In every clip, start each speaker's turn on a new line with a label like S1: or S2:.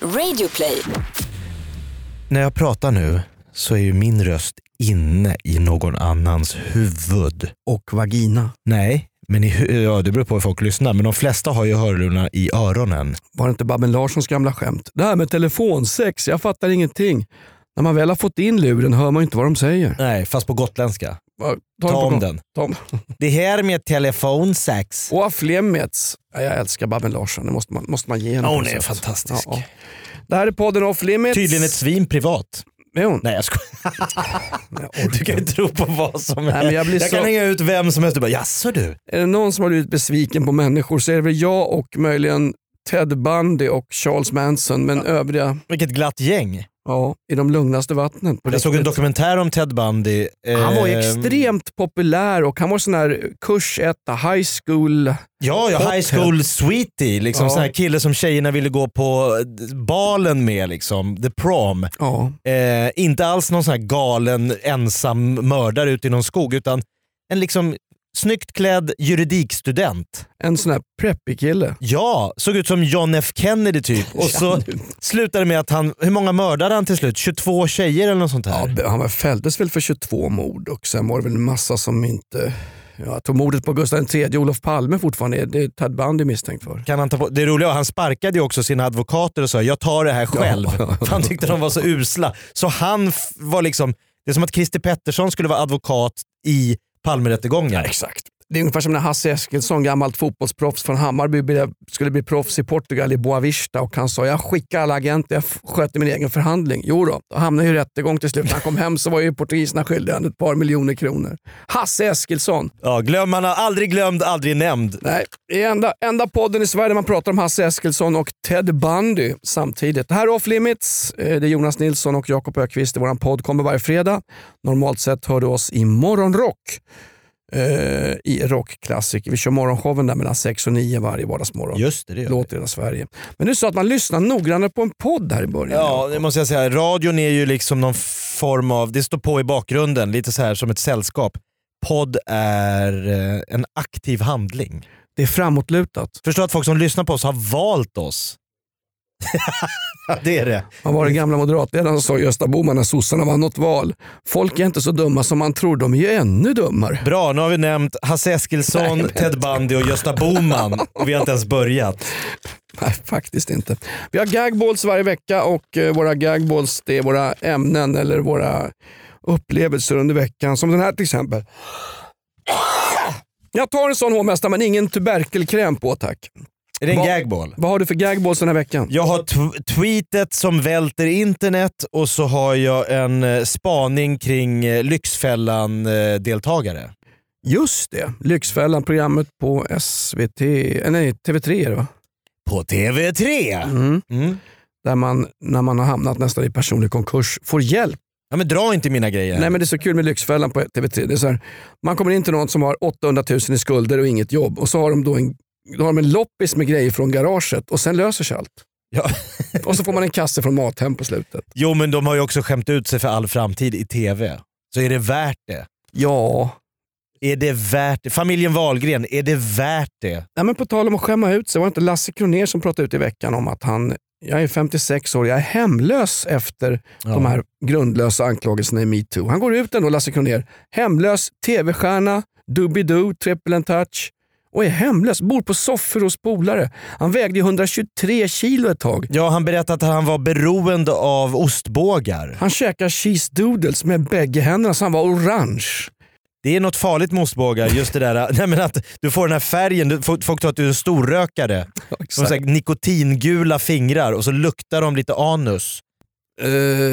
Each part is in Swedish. S1: Radioplay.
S2: När jag pratar nu så är ju min röst inne i någon annans huvud.
S3: och vagina.
S2: Nej, men i, hu- ja, det beror på hur folk lyssnar. Men de flesta har ju hörlurarna i öronen.
S3: Var det inte Babben Larssons gamla skämt? Det här med telefonsex, jag fattar ingenting. När man väl har fått in luren hör man ju inte vad de säger.
S2: Nej, fast på gotländska.
S3: Va,
S2: Ta,
S3: på
S2: om
S3: gott-
S2: den.
S3: Ta om.
S2: Det här med telefonsex.
S3: Och Flemmets. Ja, jag älskar Babben Larsson, det måste man, måste man ge henne.
S2: Ja,
S3: på
S2: hon
S3: något
S2: är
S3: sätt.
S2: fantastisk.
S3: Ja, ja. Det här är podden Off Limits.
S2: Tydligen ett svin privat.
S3: Är hon?
S2: Nej jag skojar.
S3: Jag
S2: Du
S3: orkar
S2: kan ju
S3: inte.
S2: tro på vad som helst.
S3: Nej, men jag blir så-
S2: kan hänga ut vem som helst. Du bara, jaså du?
S3: Är det någon som har blivit besviken på människor så är det väl jag och möjligen Ted Bundy och Charles Manson, men övriga
S2: Vilket glatt gäng.
S3: ja, i de lugnaste vattnen. på
S2: Jag såg en
S3: riktigt.
S2: dokumentär om Ted Bundy.
S3: Han var ju
S2: Eh,
S3: extremt populär och han var sån här kurs 1, high school.
S2: Ja, ja high school sweetie. Liksom,
S3: Ja.
S2: Sån här kille som tjejerna ville gå på eh, balen med. Liksom, the prom.
S3: Ja.
S2: Eh, inte alls någon sån här galen ensam mördare ute i någon skog utan en liksom snyggt klädd juridikstudent.
S3: En sån här preppig kille.
S2: Ja, såg ut som John F Kennedy typ. Och så slutade det med att han, hur många mördade han till slut? 22 tjejer eller något sånt
S3: Ja,
S2: här?
S3: b- han var- fälldes väl för 22 mord och sen var det väl en massa som inte... Ja, jag tror mordet på Gustav III Olof Palme fortfarande är, det är Ted Bundy misstänkt för.
S2: Kan han ta på? Det roliga var han sparkade ju också sina advokater och sa jag tar det här själv.
S3: Ja.
S2: För han tyckte de var så usla. Så han f- var liksom, det är som att Christer Pettersson skulle vara advokat i Palmerättegången.
S3: Exakt. Det är ungefär som när Hasse Eskilsson, gammalt fotbollsproffs från Hammarby, blev- skulle bli proffs i Portugal i Boavista och han sa jag skickar alla agenter, jag f- sköter min egen förhandling. Jo då, då hamnade ju i rättegång till slut. När han kom hem så var ju portugiserna skyldiga honom ett par miljoner kronor. Hasse Eskilsson.
S2: Ja, glöm, han har aldrig glömd, aldrig nämnd.
S3: Nej, det är enda, enda podden i Sverige där man pratar om Hasse Eskilsson och Ted Bundy samtidigt. Det här är Off Limits. Eh, Det är Jonas Nilsson och Jakob Ökvist i vår podd. Kommer varje fredag. Normalt sett hör du oss i morgonrock. Eh, I rockklassiker. Vi kör morgonshowen där mellan 6 och 9 varje vardagsmorgon.
S2: Just det, det gör vi.
S3: Låt i hela Sverige. Men du sa att man lyssnar noggrannare på en podd här i början.
S2: Ja, det måste jag säga. Radion är ju liksom någon form av, det står på i bakgrunden, lite så här som ett sällskap. Podd är eh, en aktiv handling.
S3: Det är framåtlutat.
S2: Förstå att folk som lyssnar på oss har valt oss. Ja, det är det.
S3: Man var den gamla moderatledaren som sa Gösta Bohman när sossarna vann något val. Folk är inte så dumma som man tror, de är ju ännu dummare.
S2: Bra, nu har vi nämnt Hasse Eskilsson, Ted Bundy och Gösta Boman. Och vi har inte ens börjat.
S3: Nej, faktiskt inte. Vi har gagballs varje vecka och eh, våra gagballs det är våra ämnen eller våra upplevelser under veckan. Som den här till exempel. Jag tar en sån hovmästare men ingen tuberkelkräm på tack.
S2: Är det en
S3: Va-
S2: gagball?
S3: Vad har du för gagballs den här veckan?
S2: Jag har tw- tweetet som välter internet och så har jag en eh, spaning kring eh, Lyxfällan-deltagare.
S3: Just det, Lyxfällan, programmet på SVT, eh, nej TV3 är det va?
S2: På TV3!
S3: Mm.
S2: Mm.
S3: Där man, när man har hamnat nästan i personlig konkurs, får hjälp
S2: Ja, men dra inte mina grejer.
S3: Nej men det är så kul med Lyxfällan på TV3. Det är så här, man kommer in till någon som har 800 000 i skulder och inget jobb och så har de då en, då har de en loppis med grejer från garaget och sen löser sig allt.
S2: Ja.
S3: och så får man en kasse från Mathem på slutet.
S2: Jo men de har ju också skämt ut sig för all framtid i TV. Så är det värt det?
S3: Ja,
S2: Är det värt det? Familjen Wahlgren, är det värt det?
S3: Nej, men på tal om att skämma ut sig, var det inte Lasse Kronér som pratade ut i veckan om att han, jag är 56 år, jag är hemlös efter
S2: Ja.
S3: de här grundlösa anklagelserna i metoo. Han går ut ändå, Lasse Kronér, hemlös, tv-stjärna, Doobidoo, triple and touch och är hemlös, bor på soffor hos polare. Han vägde ju 123 kilo ett tag.
S2: Ja, han berättade att han var beroende av ostbågar.
S3: Han käkar cheese doodles med bägge händerna så han var orange.
S2: Det är något farligt med ostbågar, just det där nej, men att du får den här färgen, du, folk folk tror att du är en storrökare. De har så här nikotingula fingrar och så luktar de lite anus.
S3: Eh,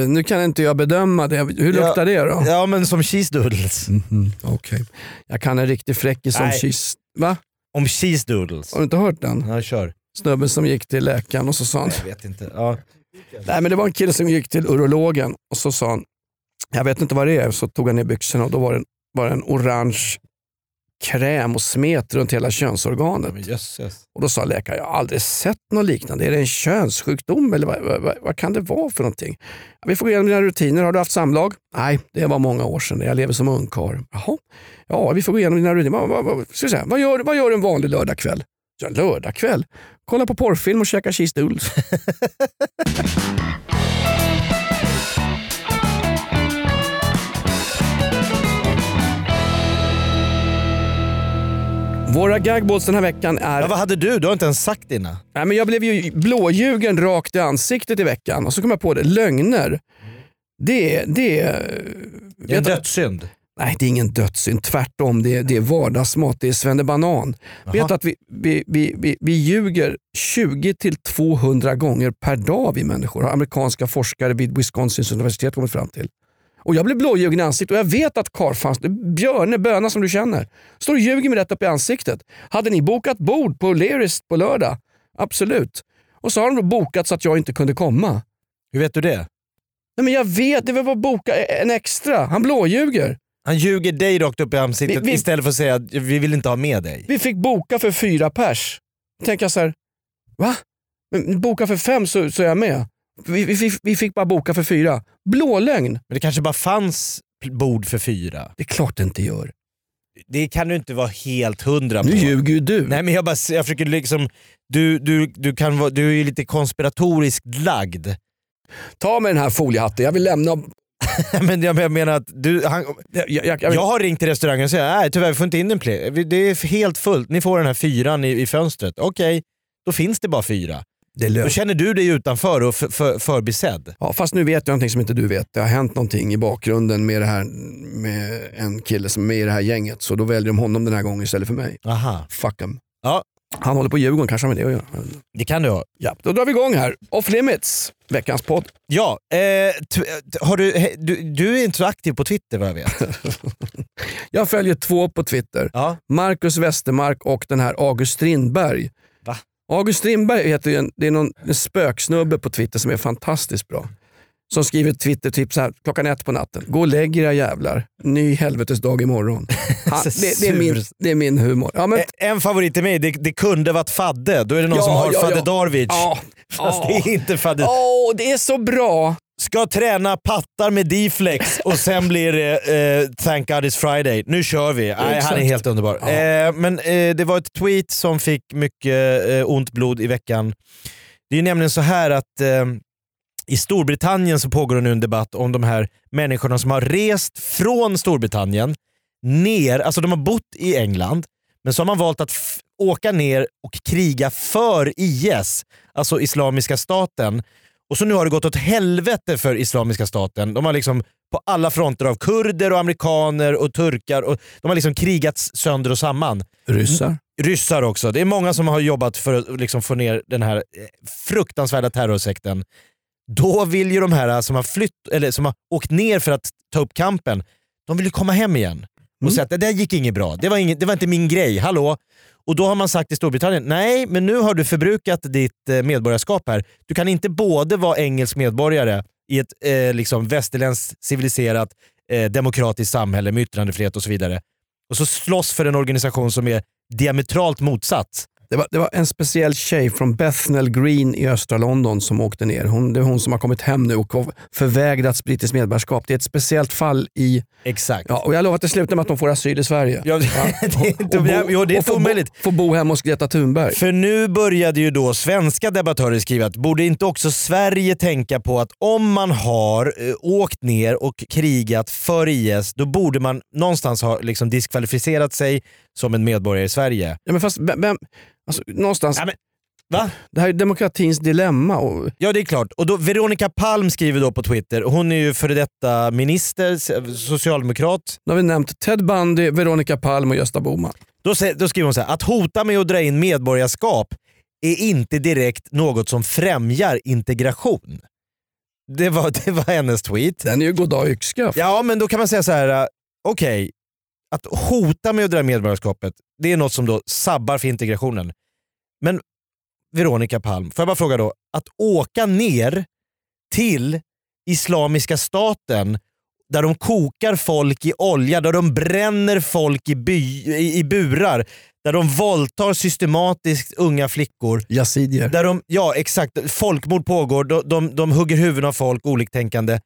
S3: nu kan inte jag bedöma det. Hur
S2: Ja.
S3: luktar det då?
S2: Ja men som cheese doodles.
S3: Mhm, okej. Jag kan en riktig fräckis som
S2: Nej.
S3: cheese... Va?
S2: Om cheese doodles.
S3: Har du inte hört den?
S2: Ja, kör.
S3: Snubben som gick till läkaren och så sa han,
S2: Jag vet inte. Ja.
S3: nej men det var en kille som gick till urologen och så sa han, jag vet inte vad det är, så tog han ner byxorna och då var det, var det en orange kräm och smet runt hela könsorganet.
S2: Men jösses.
S3: Och Då sa läkaren, jag har aldrig sett något liknande. Är det en könssjukdom eller vad, vad, vad, vad kan det vara för någonting? Vi får gå igenom dina rutiner. Har du haft samlag? Nej, det var många år sedan. Jag lever som ungkarl. Jaha, ja vi får gå igenom dina rutiner. Vad, vad, vad, ska jag säga? vad, gör, vad gör du en vanlig lördagkväll? Ja, lördagkväll. Kolla på porrfilm och käka cheese doodles. Våra gagballs den här veckan är...
S2: Ja, vad hade du? Du har inte ens sagt dina.
S3: Nej, men jag blev ju blåljugen rakt i ansiktet i veckan och så kom jag på det. Lögner. Det är... Det är
S2: Det är en dödssynd.
S3: Nej, det är ingen dödssynd. Tvärtom, det är, det är vardagsmat. Det är svennebanan.
S2: Jaha.
S3: Vet du att vi, vi, vi, vi, vi ljuger 20-200 gånger per dag vi människor har amerikanska forskare vid Wisconsins universitet kommit fram till. Och jag blir blåljugen i ansiktet och jag vet att Karfans, Björne, Böna som du känner, står och ljuger mig rätt upp i ansiktet. Hade ni bokat bord på O'Learys på lördag? Absolut. Och så har de då bokat så att jag inte kunde komma.
S2: Hur vet du det?
S3: Nej men jag vet, det var bara att boka en extra. Han blåljuger.
S2: Han ljuger dig rakt upp i ansiktet
S3: Vi- vi-
S2: istället för att säga att vi vill inte ha med dig.
S3: Vi fick boka för fyra pers. Då tänker jag så här, va? Men boka för fem så, så är jag med. Vi, vi, fick- vi fick bara boka för fyra. Blålögn.
S2: Men det kanske bara fanns bord för fyra.
S3: Det är klart det inte gör.
S2: Det kan du inte vara helt hundra på.
S3: Nu ljuger ju du.
S2: Nej men jag bara, jag försöker liksom, du, du, du, kan vara, du är ju lite konspiratoriskt lagd.
S3: Ta med den här foliehatten, jag vill lämna.
S2: men jag, jag menar att du, han,
S3: Jag, jag, jag,
S2: jag har ringt till restaurangen och säger nej tyvärr vi får inte in en play. Vi- Det är helt fullt, ni får den här fyran i, i fönstret. Okej, då finns det bara fyra.
S3: det är
S2: Då
S3: lögn.
S2: känner du dig utanför och för, för, förbisedd.
S3: Ja, fast nu vet jag någonting som inte du vet. Det har hänt någonting i bakgrunden med, det här, med en kille som är med i det här gänget. Så då väljer de honom den här gången istället för mig.
S2: Aha.
S3: Fuck him.
S2: Ja.
S3: Han håller på Djurgården, kanske har med det att göra.
S2: Det kan du ha.
S3: Ja, då drar vi igång här. Off limits, veckans podd.
S2: Ja, eh, t- t- har du, he- du, du är inte så aktiv på Twitter vad jag vet.
S3: Jag följer två på Twitter.
S2: Ja.
S3: Marcus Westermark och den här August Strindberg.
S2: Va?
S3: August Strindberg heter ju en, det är någon en spöksnubbe på Twitter som är fantastiskt bra. Som skriver Twitter-tips här klockan ett på natten. Gå och lägg era jävlar. Ny helvetesdag imorgon. Ha,
S2: Så
S3: det, det, är min,
S2: sur.
S3: det är min humor. Ja, men,
S2: Eh, En favorit till mig, det, det kunde varit Fadde. Då är det någon
S3: Ja,
S2: som har
S3: ja,
S2: Fadde
S3: ja.
S2: Darvic.
S3: ja,
S2: Fast det är inte Fadde.
S3: Åh, det är så bra.
S2: Ska träna pattar med D-flex och sen blir det eh, Thank God It's Friday. Nu kör vi. Nej, han
S3: Exakt.
S2: är helt underbar.
S3: Ja.
S2: Eh, men eh, det var ett tweet som fick mycket eh, ont blod i veckan. Det är ju nämligen så här att eh, i Storbritannien så pågår det nu en debatt om de här människorna som har rest från Storbritannien ner, alltså de har bott i England, men så har man valt att f- åka ner och kriga för IS, alltså Islamiska staten. Och så nu har det gått åt helvete för Islamiska staten. De har liksom på alla fronter av kurder och amerikaner och turkar. Och de har liksom krigats sönder och samman.
S3: Ryssar.
S2: Ryssar också. Det är många som har jobbat för att liksom få ner den här eh, fruktansvärda terrorsekten. Då vill ju de här eh, som har, flytt, eller som har åkt ner för att ta upp kampen, de vill ju komma hem igen och
S3: Mm.
S2: säga att det där gick inget bra. Det var, inget, det var inte min grej. Hallå? Och då har man sagt i Storbritannien, nej men nu har du förbrukat ditt eh, medborgarskap här. Du kan inte både vara engelsk medborgare i ett eh, liksom västerländskt civiliserat eh, demokratiskt samhälle med yttrandefrihet och så vidare. Och så slåss för en organisation som är diametralt motsatt.
S3: Det var, det var en speciell tjej från Bethnal Green i östra London som åkte ner. Hon, det är hon som har kommit hem nu och har förvägrats brittiskt medborgarskap. Det är ett speciellt fall i...
S2: Exakt.
S3: Ja, och jag lovar att det slutar med att de får asyl i Sverige.
S2: Ja, det, är inte-
S3: Och
S2: jo,
S3: bo-
S2: det är
S3: och
S2: inte
S3: få bo-
S2: omöjligt.
S3: Få bo hemma hos Greta Thunberg.
S2: För nu började ju då svenska debattörer skriva att borde inte också Sverige tänka på att om man har eh, åkt ner och krigat för IS, då borde man någonstans ha liksom diskvalificerat sig som en medborgare i Sverige.
S3: Ja, men fast, vem, vem, alltså, någonstans,
S2: Ja, men- Va?
S3: det här är demokratins dilemma. Och,
S2: Ja det är klart. Och då, Veronica Palm skriver då på Twitter, hon är ju före detta minister, s- socialdemokrat.
S3: nu har vi nämnt Ted Bundy, Veronica Palm och Gösta Bohman.
S2: Då, sä- då skriver hon så här, att hota med att dra in medborgarskap är inte direkt något som främjar integration. Det var, det var hennes tweet.
S3: Den är ju goddag yxskaft.
S2: Ja, men då kan man säga så här. äh, okej, att hota med att dra medborgarskapet, det är något som då sabbar för integrationen. Men Veronica Palm, får jag bara fråga då, att åka ner till Islamiska staten där de kokar folk i olja, där de bränner folk i, by, i, i burar, där de våldtar systematiskt unga flickor.
S3: Yazidier.
S2: Där de, ja exakt, folkmord pågår, de, de, de hugger huvuden av folk, oliktänkande.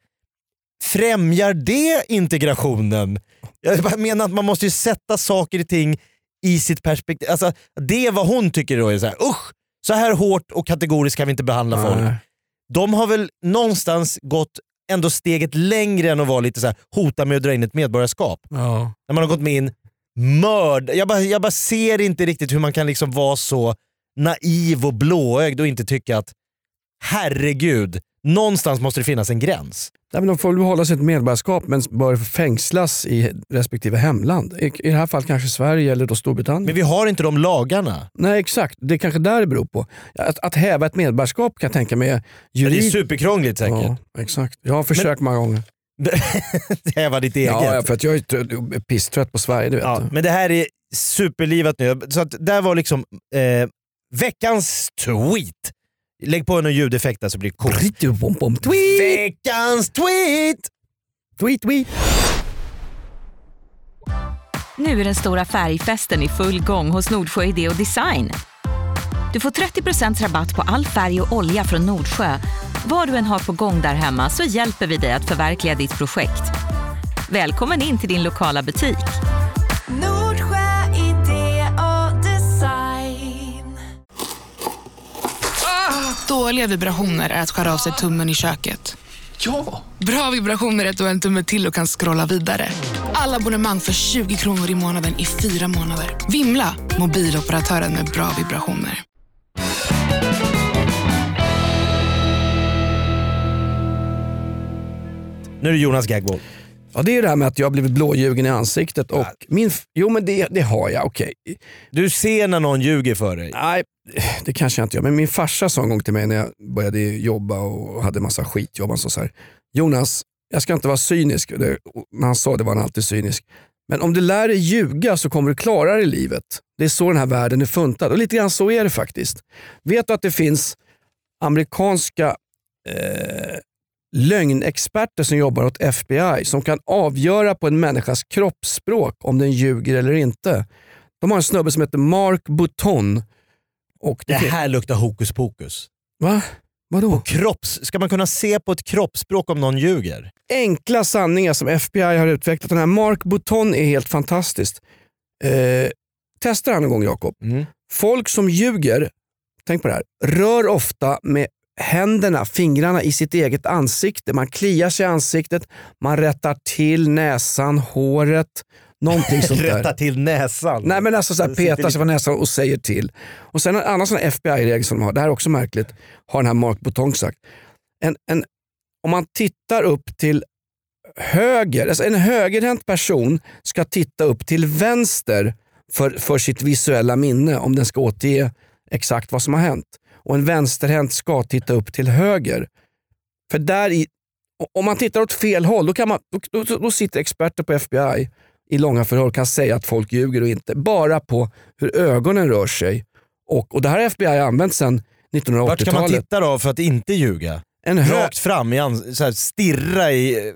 S2: Främjar det integrationen? Jag bara menar att man måste ju sätta saker och ting i sitt perspektiv. Alltså, det är vad hon tycker då är så här, usch! Så här hårt och kategoriskt kan vi inte behandla folk.
S3: Nej.
S2: De har väl någonstans gått ändå steget längre än att vara lite så här, hota med att dra in ett medborgarskap.
S3: Ja.
S2: När man har gått med in, mörd. Jag bara, jag bara ser inte riktigt hur man kan liksom vara så naiv och blåögd och inte tycka att herregud, någonstans måste det finnas en gräns.
S3: Nej, men de får väl behålla sitt medborgarskap men bör fängslas i respektive hemland. I, i det här fallet kanske Sverige eller då Storbritannien.
S2: Men vi har inte de lagarna.
S3: Nej exakt, det är kanske där det beror på. Att, att häva ett medborgarskap kan jag tänka mig är
S2: Det är
S3: juridiskt.
S2: superkrångligt säkert.
S3: Ja, exakt. Jag har försökt många gånger.
S2: Häva ditt eget.
S3: Ja, ja, för att jag är trö- pisstrött på Sverige, det vet
S2: Ja,
S3: du.
S2: men det här är superlivat nu. Så att där var liksom eh, veckans tweet. Lägg på en ljudeffekt där så blir det coolt.
S3: Tweet,
S2: Veckans tweet!
S3: tweet, tweet.
S1: Nu är den stora färgfesten i full gång hos Nordsjö Idé och Design. Du får 30 rabatt på all färg och olja från Nordsjö. Vad du än har på gång där hemma så hjälper vi dig att förverkliga ditt projekt. Välkommen in till din lokala butik.
S4: Nordsjö idé och design.
S5: Dåliga vibrationer är att skära av sig tummen i köket.
S6: Ja!
S5: Bra vibrationer är att du har en tumme till och kan scrolla vidare. Alla abonnemang för 20 kronor i månaden i fyra månader. Vimla! Mobiloperatören med bra vibrationer.
S2: Nu är det Jonas gagball.
S3: Ja, det är det här med att jag har blivit blåljugen i ansiktet. Och min, f- jo, men det, det har jag. Okej.
S2: Du ser när någon ljuger för dig.
S3: Nej, det kanske jag inte gör. Men min farsa sa en gång till mig när jag började jobba och hade massa skitjobb. Han sa så här, Jonas, jag ska inte vara cynisk. Det, och när han sa det var han alltid cynisk. Men om du lär dig ljuga så kommer du klara dig i livet. Det är så den här världen är funtad. Och lite grann så är det faktiskt. Vet du att det finns amerikanska eh, lögnexperter som jobbar åt FBI som kan avgöra på en människas kroppsspråk om den ljuger eller inte. De har en snubbe som heter Mark Bouton. Och
S2: Det
S3: det fin-
S2: här luktar hokus pokus.
S3: Va? Vadå?
S2: Kropps, ska man kunna se på ett kroppsspråk om någon ljuger?
S3: Enkla sanningar som FBI har utvecklat. Den här Mark Bouton är helt fantastisk. Eh, testa det här någon gång Jakob.
S2: Mm.
S3: Folk som ljuger, tänk på det här, rör ofta med händerna, fingrarna i sitt eget ansikte. Man kliar sig i ansiktet, man rättar till näsan, håret, någonting sånt där.
S2: Rätta till näsan.
S3: Nej men alltså så här,
S2: Det sitter
S3: petar sig på näsan och säger till. Och sen en annan sån FBI-regel som de har, det här är också märkligt, har den här Mark Bouton sagt. En, en, om man tittar upp till höger, alltså en högerhänt person ska titta upp till vänster för, för sitt visuella minne om den ska återge exakt vad som har hänt. Och en vänsterhänt ska titta upp till höger. För där i, o- om man tittar åt fel håll, då, kan man, då, då, då sitter experter på FBI i långa förhör och kan säga att folk ljuger och inte. Bara på hur ögonen rör sig. Och, och det här har FBI använt sedan
S2: Vart ska man
S3: 1980-talet.
S2: titta då för att inte ljuga?
S3: En hö-
S2: Rakt fram, i ans- så här, stirra i... eh,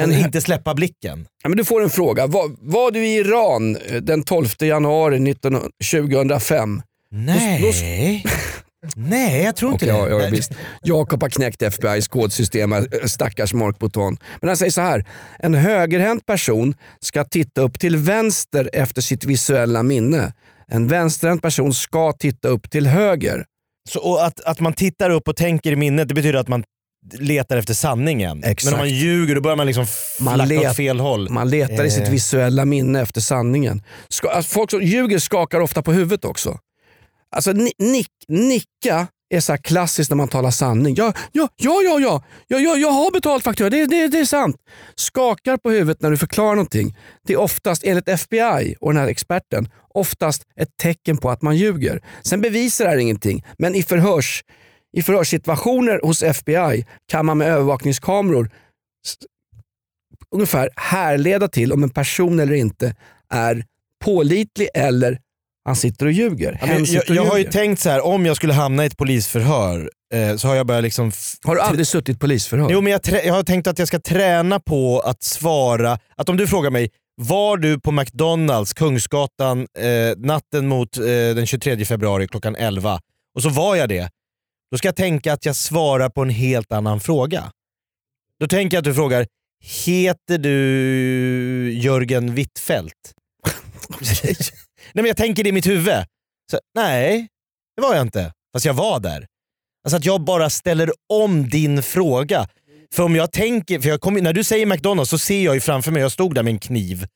S3: En
S2: En,
S3: hö-
S2: inte släppa blicken.
S3: Ja, men du får en fråga. Var, var du i Iran eh, den 12 januari 19, 2005?
S2: Nej. Nej, jag tror inte
S3: Okej,
S2: det.
S3: ja, ja,
S2: Nej.
S3: visst. Jakob har knäckt FBIs kodsystem, eh, stackars Mark Bouton. Men han säger så här, en högerhänt person ska titta upp till vänster efter sitt visuella minne. En vänsterhänt person ska titta upp till höger.
S2: Så, och att, att man tittar upp och tänker i minnet, det betyder att man letar efter sanningen. Men
S3: Exakt.
S2: om man ljuger då börjar man liksom
S3: Man
S2: flacka
S3: let-
S2: åt fel håll.
S3: Man letar i sitt
S2: Eh.
S3: visuella minne efter sanningen. Ska, alltså, folk som ljuger skakar ofta på huvudet också. Alltså, ni, nick, nicka är så här klassiskt när man talar sanning. Ja, ja, ja, ja, ja, ja, ja jag har betalt faktura, det, det, det är sant. Skakar på huvudet när du förklarar någonting. Det är oftast, enligt FBI och den här experten, oftast ett tecken på att man ljuger. Sen bevisar det här ingenting, men i, förhörs, i förhörssituationer hos FBI kan man med övervakningskameror ungefär härleda till om en person eller inte är pålitlig eller han sitter och ljuger.
S2: Ja,
S3: Hen
S2: men
S3: sitter
S2: jag,
S3: och
S2: jag har ju
S3: ljuger.
S2: tänkt så här, om jag skulle hamna i ett polisförhör eh, så har jag börjat liksom... f-
S3: har du aldrig suttit i polisförhör?
S2: Jo, men jag, trä- jag har tänkt att jag ska träna på att svara, att om du frågar mig var du på McDonalds, Kungsgatan, eh, natten mot eh, den 23 februari klockan 11? Och så var jag det. Då ska jag tänka att jag svarar på en helt annan fråga. Då tänker jag att du frågar, heter du Jörgen Wittfeldt? Nej men jag tänker det i mitt huvud. Så, nej, det var jag inte. Fast jag var där. Alltså att jag bara ställer om din fråga. För om jag tänker, för jag kommer- när du säger McDonalds så ser jag ju framför mig, jag stod där med en kniv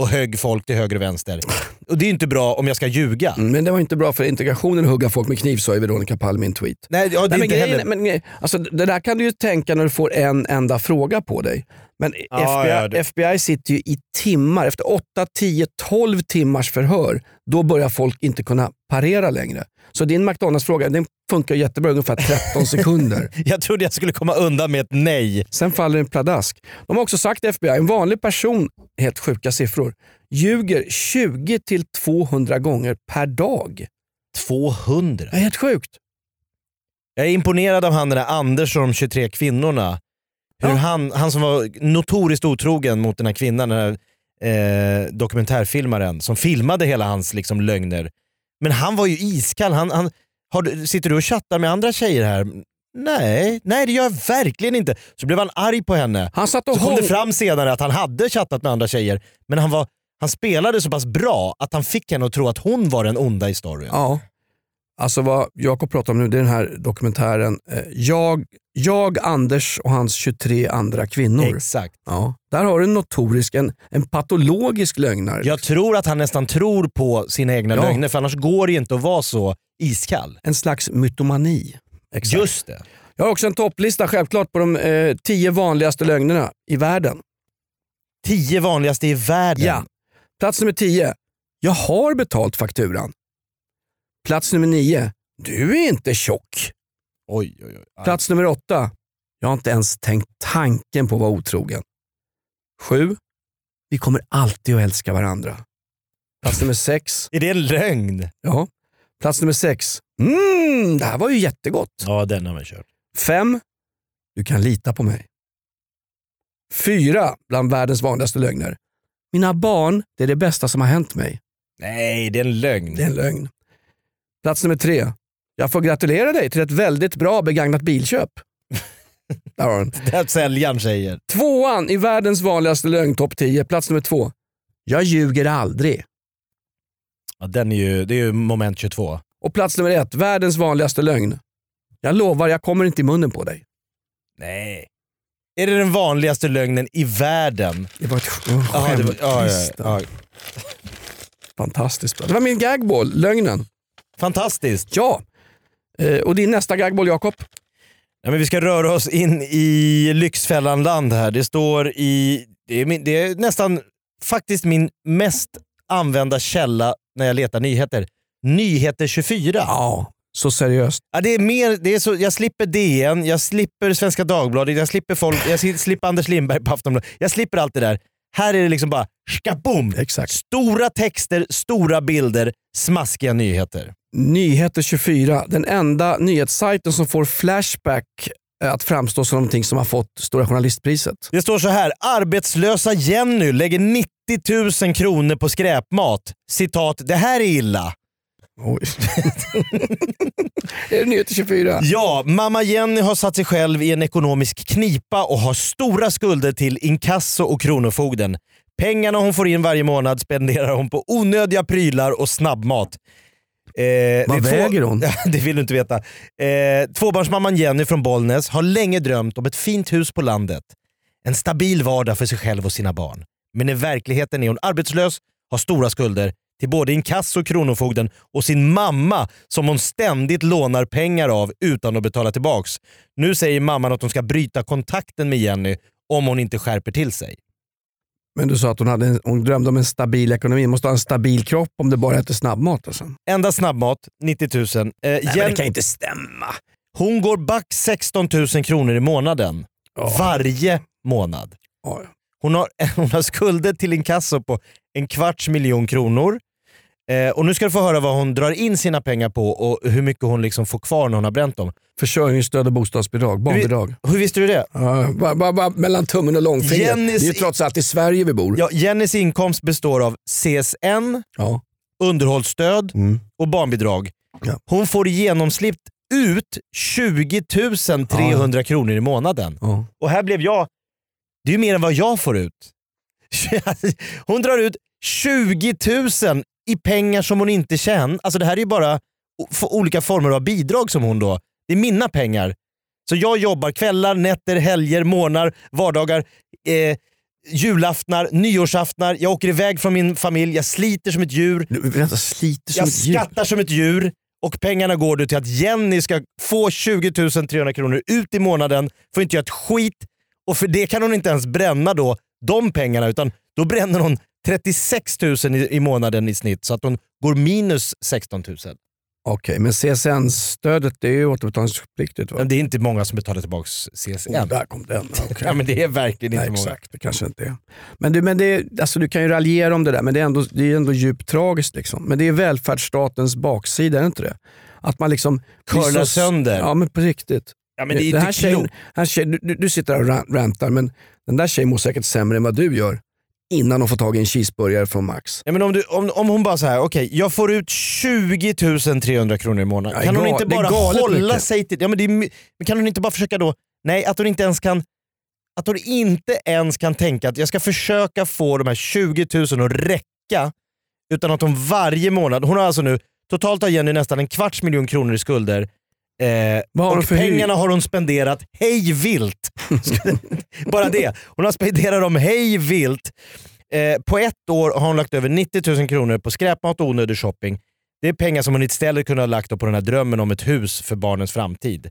S2: och högg folk till höger och vänster. Och det är ju inte bra om jag ska ljuga.
S3: Mm, Men det var inte bra för integrationen att hugga folk med kniv sa ju Veronica Palm i en tweet.
S2: Nej, ja, det är
S3: Nej, men
S2: inte
S3: grejen,
S2: heller...
S3: är- men, grej- alltså, det där kan du ju tänka när du får en enda fråga på dig. Men
S2: Ja,
S3: FBI,
S2: ja, det-
S3: FBI sitter ju i timmar, efter 8, 10, 12 timmars förhör, då börjar folk inte kunna parera längre. Så din McDonalds-fråga den funkar jättebra i ungefär 13 sekunder.
S2: Jag trodde jag skulle komma undan med ett nej.
S3: Sen faller den pladask. De har också sagt FBI, en vanlig person, helt sjuka siffror, ljuger 20-200 gånger per dag.
S2: 200.
S3: Det är helt sjukt.
S2: Jag är imponerad av han den där Anders och de 23 kvinnorna. Hur
S3: Ja.
S2: han, han som var notoriskt otrogen mot den här kvinnan, den här, eh, dokumentärfilmaren som filmade hela hans liksom, lögner. Men han var ju iskall. Han, han, har, du- sitter du och chattar med andra tjejer här? Nej, nej det gör jag verkligen inte. Så blev han arg på henne.
S3: Han satt och
S2: Så kom
S3: hång...
S2: det fram senare att han hade chattat med andra tjejer, men han, var, han spelade så pass bra att han fick henne att tro att hon var den onda i storyn.
S3: Ja. Alltså vad Jakob pratar om nu det är den här dokumentären eh, jag, jag, Anders och hans 23 andra kvinnor.
S2: Exakt.
S3: Ja. Där har du en notorisk, en, en patologisk lögnare.
S2: Jag tror att han nästan tror på sina egna
S3: Ja.
S2: lögner för annars går det inte att vara så iskall.
S3: En slags mytomani. Exakt.
S2: Just det.
S3: Jag har också en topplista självklart på de eh, tio vanligaste lögnerna i världen.
S2: Tio vanligaste i världen.
S3: Ja. Plats nummer 10. Jag har betalt fakturan. Plats nummer 9. Du är inte tjock.
S2: Oj, oj, oj.
S3: Plats nummer 8. Jag har inte ens tänkt tanken på att vara otrogen. 7. Vi kommer alltid att älska varandra. Plats nummer 6.
S2: Är det en lögn?
S3: Ja. Plats nummer 6. Mm, det här var ju jättegott.
S2: Ja, den har man kört.
S3: 5. Du kan lita på mig. 4. Bland världens vanligaste lögner. Mina barn, det är det bästa som har hänt mig.
S2: Nej, det är en lögn.
S3: Det är en lögn. Plats nummer tre. Jag får gratulera dig till ett väldigt bra begagnat bilköp. Där har du den.
S2: Det är att säljaren säger.
S3: Tvåan i världens vanligaste lögn, topp 10. Plats nummer två. Jag ljuger aldrig.
S2: Ja, den är ju, det är ju moment 22.
S3: Och plats nummer ett, världens vanligaste lögn. Jag lovar, jag kommer inte i munnen på dig.
S2: Nej. Är det den vanligaste lögnen i världen?
S3: Det var ett sk- oh,
S2: Ja, det var- ja, ja,
S3: skämtlista.
S2: ja.
S3: Fantastiskt bra. Det var min gagball, lögnen.
S2: Fantastiskt.
S3: Ja. Eh, och din nästa gagball, Jakob?
S2: Ja, men vi ska röra oss in i Lyxfällanland här. Det står i... Det är, min, det är nästan faktiskt min mest använda källa när jag letar nyheter. Nyheter 24. Ja.
S3: Så seriöst.
S2: det är mer, det är så, jag slipper DN, jag slipper Svenska Dagbladet, jag slipper, folk, jag si- slipper Anders Lindberg på Aftonbladet. Jag slipper allt det där. Här är det liksom bara skaboom!
S3: Exakt.
S2: Stora texter, stora bilder, smaskiga nyheter.
S3: Nyheter 24, den enda nyhetssajten som får Flashback eh, att framstå som någonting som har fått Stora Journalistpriset.
S2: Det står så här, arbetslösa Jenny lägger 90 000 kronor på skräpmat. Citat, det här är illa.
S3: är det Nyheter 24?
S2: Ja, mamma Jenny har satt sig själv i en ekonomisk knipa och har stora skulder till inkasso och kronofogden. Pengarna hon får in varje månad spenderar hon på onödiga prylar och snabbmat. Eh,
S3: Vad
S2: det är
S3: väger hon?
S2: Ja, det vill du inte veta. Eh, tvåbarnsmamman Jenny från Bollnäs har länge drömt om ett fint hus på landet. En stabil vardag för sig själv och sina barn. Men i verkligheten är hon arbetslös, har stora skulder till både inkasso, kronofogden och sin mamma som hon ständigt lånar pengar av utan att betala tillbaks. Nu säger mamman att hon ska bryta kontakten med Jenny om hon inte skärper till sig.
S3: Men du sa att hon, hade en, hon drömde om en stabil ekonomi. Måste ha en stabil kropp om det bara äter snabbmat. Alltså.
S2: Enda snabbmat, 90 000. Eh, Jen-
S3: inte stämma.
S2: hon går back 16 000 kronor i månaden. Varje månad.
S3: Ja.
S2: Hon har, hon har skulder till inkasso på en kvarts miljon kronor. Eh, och nu ska du få höra vad hon drar in sina pengar på och hur mycket hon liksom får kvar när hon har bränt dem.
S3: Försörjningsstöd och bostadsbidrag, barnbidrag.
S2: Hur visste du det?
S3: Ja, bara, bara, bara mellan tummen och långfingret.
S2: Jennys-
S3: Det är ju trots allt i Sverige vi bor.
S2: Ja, Jennys inkomst består av CSN,
S3: Ja.
S2: underhållsstöd
S3: Mm.
S2: och barnbidrag.
S3: Ja.
S2: Hon får i genomsnitt ut 20 300 kronor i månaden.
S3: Ja.
S2: Och här blev jag... Det är ju mer än vad jag får ut. Hon drar ut 20 000 i pengar som hon inte tjänar. Alltså det här är ju bara o- f- olika former av bidrag som hon då. Det är mina pengar. Så jag jobbar kvällar, nätter, helger, månader, vardagar, eh, julaftnar, nyårsaftnar. Jag åker iväg från min familj, jag sliter som ett djur.
S6: Du, vänta, sliter som
S2: Jag
S6: ett djur.
S2: skattar som ett djur och pengarna går då till att Jenny ska få 20 300 kronor ut i månaden, får inte göra ett skit och för det kan hon inte ens bränna då de pengarna utan då bränner hon 36 000 i, i månaden i snitt så att hon går minus 16 000.
S3: Okej, men CSN-stödet det är ju återbetalningspliktigt va?
S2: Men det är inte många som betalar tillbaka CSN.
S3: Oh, där kom den. Okej.
S2: Ja, men det är verkligen inte
S3: Nej,
S2: många.
S3: exakt, det kanske inte är. Men, du, men det, alltså, du kan ju raljera om det där, men det är ändå, det är ändå djupt tragiskt. Liksom. Men det är välfärdsstatens baksida, är det inte det? Att man liksom...
S2: Curlar
S3: det är så-
S2: sönder.
S3: Ja, men på riktigt.
S2: Ja, men det är
S3: Den här
S2: inte
S3: tjejen,
S2: klokt.
S3: här tjejen, du, du, du sitter där och ran- rantar, men den där tjejen mår säkert sämre än vad du gör innan hon får tag i en cheeseburgare från Max.
S2: Ja, men om, du, om, om hon bara så här, okej jag får ut 20 300 kronor i månaden.
S3: Ja,
S2: kan hon
S3: gal-
S2: inte
S3: det är
S2: bara
S3: galet
S2: hålla
S3: mycket.
S2: sig till... Ja, men det är, my- men kan hon inte bara försöka då... Nej, att hon inte ens kan... Att hon inte ens kan tänka att jag ska försöka få de här 20 000 att räcka. Utan att hon varje månad... Hon har alltså nu... Totalt har Jenny nästan en kvarts miljon kronor i skulder. Eh,
S3: Vad har hon
S2: och
S3: för hyr-
S2: pengarna har hon spenderat hej vilt. bara det. Hon har spenderat dem hej vilt. Eh, på ett år har hon lagt över 90 000 kronor på skräpmat och onödig shopping. Det är pengar som hon istället kunde ha lagt då på den här drömmen om ett hus för barnens framtid.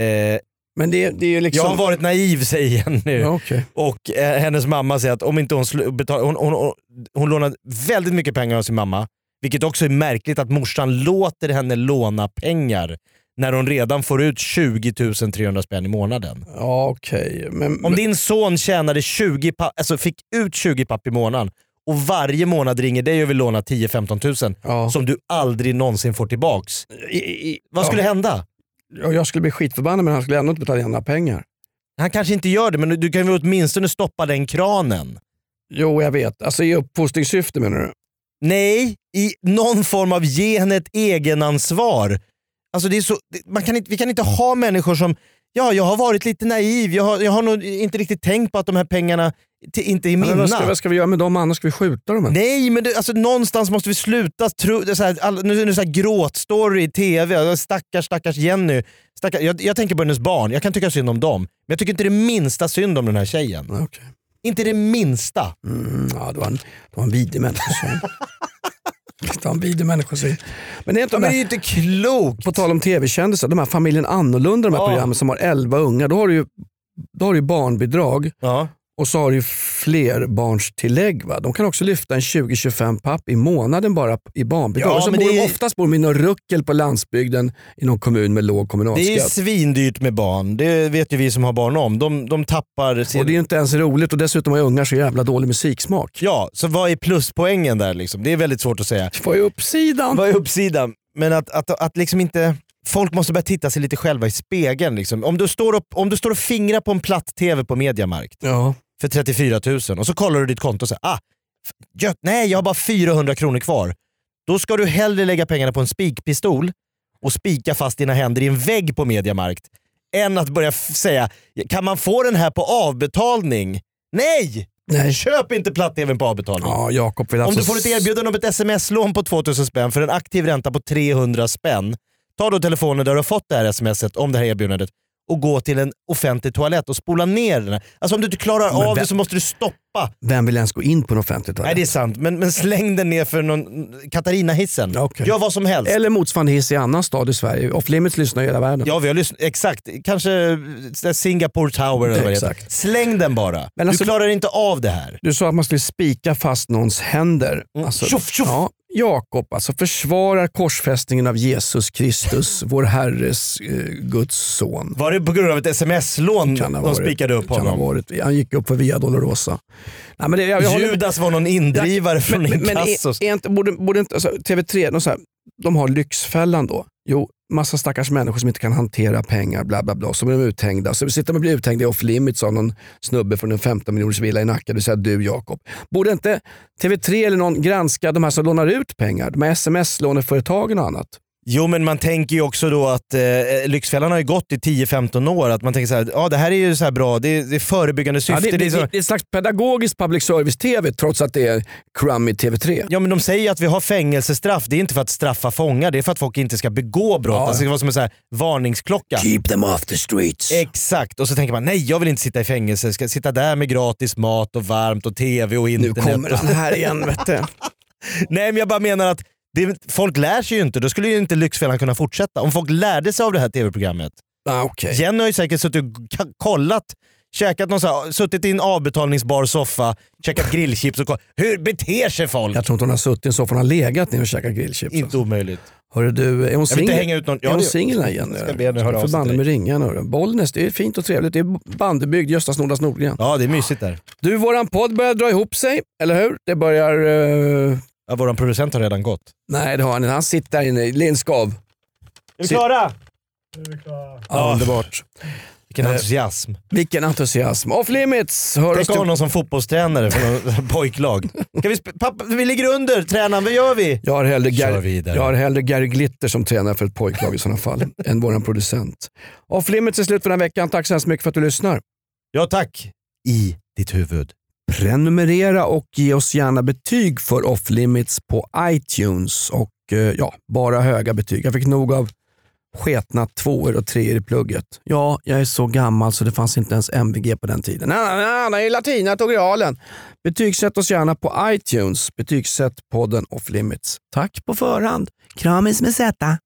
S2: Eh,
S3: Men det, det är ju liksom...
S2: jag har varit naiv säger Jenny.
S3: Ja, okej.
S2: Och eh, hennes mamma säger att om inte hon slu- betalar... Hon, hon, hon, hon lånar väldigt mycket pengar av sin mamma. Vilket också är märkligt att morsan låter henne låna pengar när hon redan får ut 20 300 spänn i månaden.
S3: Ja, okej. Men,
S2: Om din son tjänade 20 papp, alltså fick ut 20 papp i månaden och varje månad ringer dig och vill låna 10-15 000
S3: ja.
S2: som du aldrig någonsin får tillbaks. Vad skulle hända?
S3: Ja, jag skulle bli skitförbannad men han skulle ändå inte betala gärna pengar.
S2: Han kanske inte gör det men du kan väl åtminstone stoppa den kranen?
S3: Jo, jag vet. Alltså i uppfostringssyfte menar du?
S2: Nej, i någon form av ge henne ett egenansvar. Alltså det är så, det- man kan inte, vi kan inte ha människor som, ja jag har varit lite naiv, jag har, jag har nog inte riktigt tänkt på att de här pengarna t- inte är mina.
S3: Men vad, ska, vad ska vi göra med dem annars? Ska vi skjuta dem? eller?
S2: Nej, men det, alltså, någonstans måste vi sluta tro... Det är så här, all, nu är det så här gråtstory i tv. Stackars, stackars Jenny. Stackars, jag, jag tänker på hennes barn. Jag kan tycka synd om dem. Men jag tycker inte det minsta synd om den här tjejen.
S3: Nej, okej.
S2: Inte det minsta.
S3: Mm, ja, det var en, det var en vidrig människosyn. det var en vidrig människosyn. Men det är inte
S2: Ja,
S3: de
S2: men det är
S3: här,
S2: ju inte klokt!
S3: på tal om tv-kändisar, de här familjen Annorlunda, de här
S2: Ja.
S3: programmen som har 11 ungar, då har du ju, då har du ju barnbidrag
S2: Ja.
S3: och så har du ju flerbarnstillägg. Va? De kan också lyfta en 20-25 papp i månaden bara p- i barnbidrag.
S2: Ja,
S3: och så
S2: men
S3: bor
S2: det
S3: de
S2: är-
S3: oftast bor de i någon ruckel på landsbygden i någon kommun med låg kommunalskatt.
S2: Det är svindyrt med barn. Det vet ju vi som har barn om. De, de tappar sin...
S3: Och det är ju inte ens roligt och dessutom har ju ungar så jävla dålig musiksmak.
S2: Ja, så vad är pluspoängen där liksom? Det är väldigt svårt att säga.
S3: Vad är uppsidan?
S2: Vad är uppsidan? Men att, att, att liksom inte... Folk måste börja titta sig lite själva i spegeln. Liksom. Om, du står och, om du står och fingrar på en platt-tv på Mediamarkt
S3: Ja.
S2: för 34 000 och så kollar du ditt konto och säger ah, f- gött, nej jag har bara 400 kronor kvar. Då ska du hellre lägga pengarna på en spikpistol och spika fast dina händer i en vägg på Mediamarkt än att börja f- säga kan man få den här på avbetalning? Nej!
S3: Nej.
S2: Köp inte platt-tvn på avbetalning.
S3: Ja, Jakob vill
S2: Om
S3: alltså
S2: du får ett erbjudande om ett sms-lån på 2000 spänn för en aktiv ränta på 300 spänn. Ta då telefonen där du har fått det här smset om det här erbjudandet och gå till en offentlig toalett och spola ner den. här. Alltså om du inte klarar
S3: Men
S2: av
S3: vem-
S2: det så måste du stoppa.
S3: Vem vill ens gå in på en offentlig
S2: Nej
S3: toalett?
S2: det är sant, men, men släng den ner för någon Katarina-hissen.
S3: Okej.
S2: Gör vad som helst.
S3: Eller motsvarande hiss i annan stad i Sverige. Off Limits lyssnar i hela världen.
S2: Ja, vi har lyssnat. Exakt. Kanske eh, där Singapore Tower eller vad det heter.
S3: Exakt.
S2: Släng den bara.
S3: Men alltså-
S2: du klarar inte av det här.
S3: Du sa att man skulle spika fast någons händer. Alltså,
S2: Mm. Tjoff, tjoff.
S3: Ja, Jakob alltså försvarar korsfästningen av Jesus
S2: Mm.
S3: Kristus, vår Herres eh, Guds son.
S2: Var det på grund av ett sms-lån
S3: Kan ha
S2: de
S3: varit.
S2: spikade upp
S3: Kan ha
S2: honom?
S3: varit. Han gick upp för Via Dolorosa. Nej, men det, jag, jag håller-
S2: Judas var någon indrivare från
S3: men, men
S2: inkasso.
S3: är, är inte, borde, borde inte, alltså, TV3, de, så här, de har Lyxfällan då. Jo, massa stackars människor som inte kan hantera pengar, bla bla bla. Så blir de uthängda. Så sitter de och blir uthängda i off limits av någon snubbe från en 15 miljoners villa i Nacka, det vill säga du Jakob. Borde inte TV3 eller någon granska de här som lånar ut pengar? De här sms-låneföretagen och annat.
S2: Jo men man tänker ju också då att eh, Lyxfällan har ju gått i 10-15 år. Att man tänker så här, ja det här är ju så här bra, det är, det är förebyggande
S3: Ja,
S2: syfte.
S3: det, det,
S2: är så-
S3: det, det är ett slags pedagogisk public service-tv trots att det är crummy TV3.
S2: Ja men de säger att vi har fängelsestraff, det är inte för att straffa fångar, det är för att folk inte ska begå brott.
S3: Ja.
S2: Alltså, det ska vara som en så här varningsklocka.
S3: Keep them off the streets.
S2: Exakt, och så tänker man nej jag vill inte sitta i fängelse, jag ska sitta där med gratis mat och varmt och tv och
S3: nu
S2: internet.
S3: kommer
S2: och...
S3: han här igen vet du.
S2: Nej men jag bara menar att det, folk lär sig ju inte, då skulle ju inte Lyxfällan kunna fortsätta. Om folk lärde sig av det här tv-programmet.
S3: Ah, okej.
S2: Jenny har ju säkert suttit och k- kollat, käkat någon så här, suttit i en avbetalningsbar soffa, käkat grillchips och kollat. Hur beter sig folk?
S3: Jag tror inte hon har suttit i en soffa, hon har legat ner och käkat grillchips.
S2: Inte omöjligt.
S3: Hörru du, är hon
S2: Jag vill inte
S3: singel?
S2: hänga ut någon. Ja,
S3: Är hon
S2: det-
S3: singel här igen?
S2: ska be henne höra av sig
S3: Förbannat
S2: till
S3: med ringa nu. Bollnäs, det är fint och trevligt. Det är bandebygd, Gösta Snordas Nordgren.
S2: Ja, det är mysigt där.
S3: Du, våran podd börjar dra ihop sig, eller hur? Det börjar... eh,
S2: Ja, Vår producent har redan gått.
S3: nej, det har han inte. Han sitter där inne i Lindskov.
S2: Är
S3: vi
S2: klara?
S3: Ja, underbart.
S2: Vilken entusiasm.
S3: Vilken entusiasm. Off limits! Hör oss
S2: Tänk att ha
S3: till...
S2: någon som fotbollstränare för någon pojklag. Ska vi, sp- pappa, vi ligger under tränaren, vad gör vi?
S3: Jag har, hellre
S2: Kör
S3: Gary,
S2: vidare.
S3: jag har hellre Gary Glitter som tränare för ett pojklag i sådana fall, än våran producent. Off limits är slut för den här veckan. Tack så hemskt mycket för att du lyssnar.
S2: Ja tack. I ditt huvud.
S3: prenumerera och ge oss gärna betyg för Off Limits på iTunes. Och eh, ja, bara höga betyg. Jag fick nog av sketna tvåor och treor i plugget. Ja, jag är så gammal så det fanns inte ens MVG på den tiden. Nej, nej, nej, nej, latina tog realen. Betygsätt oss gärna på iTunes. Betygsätt podden Off Limits. Tack på förhand. Kramis med Z.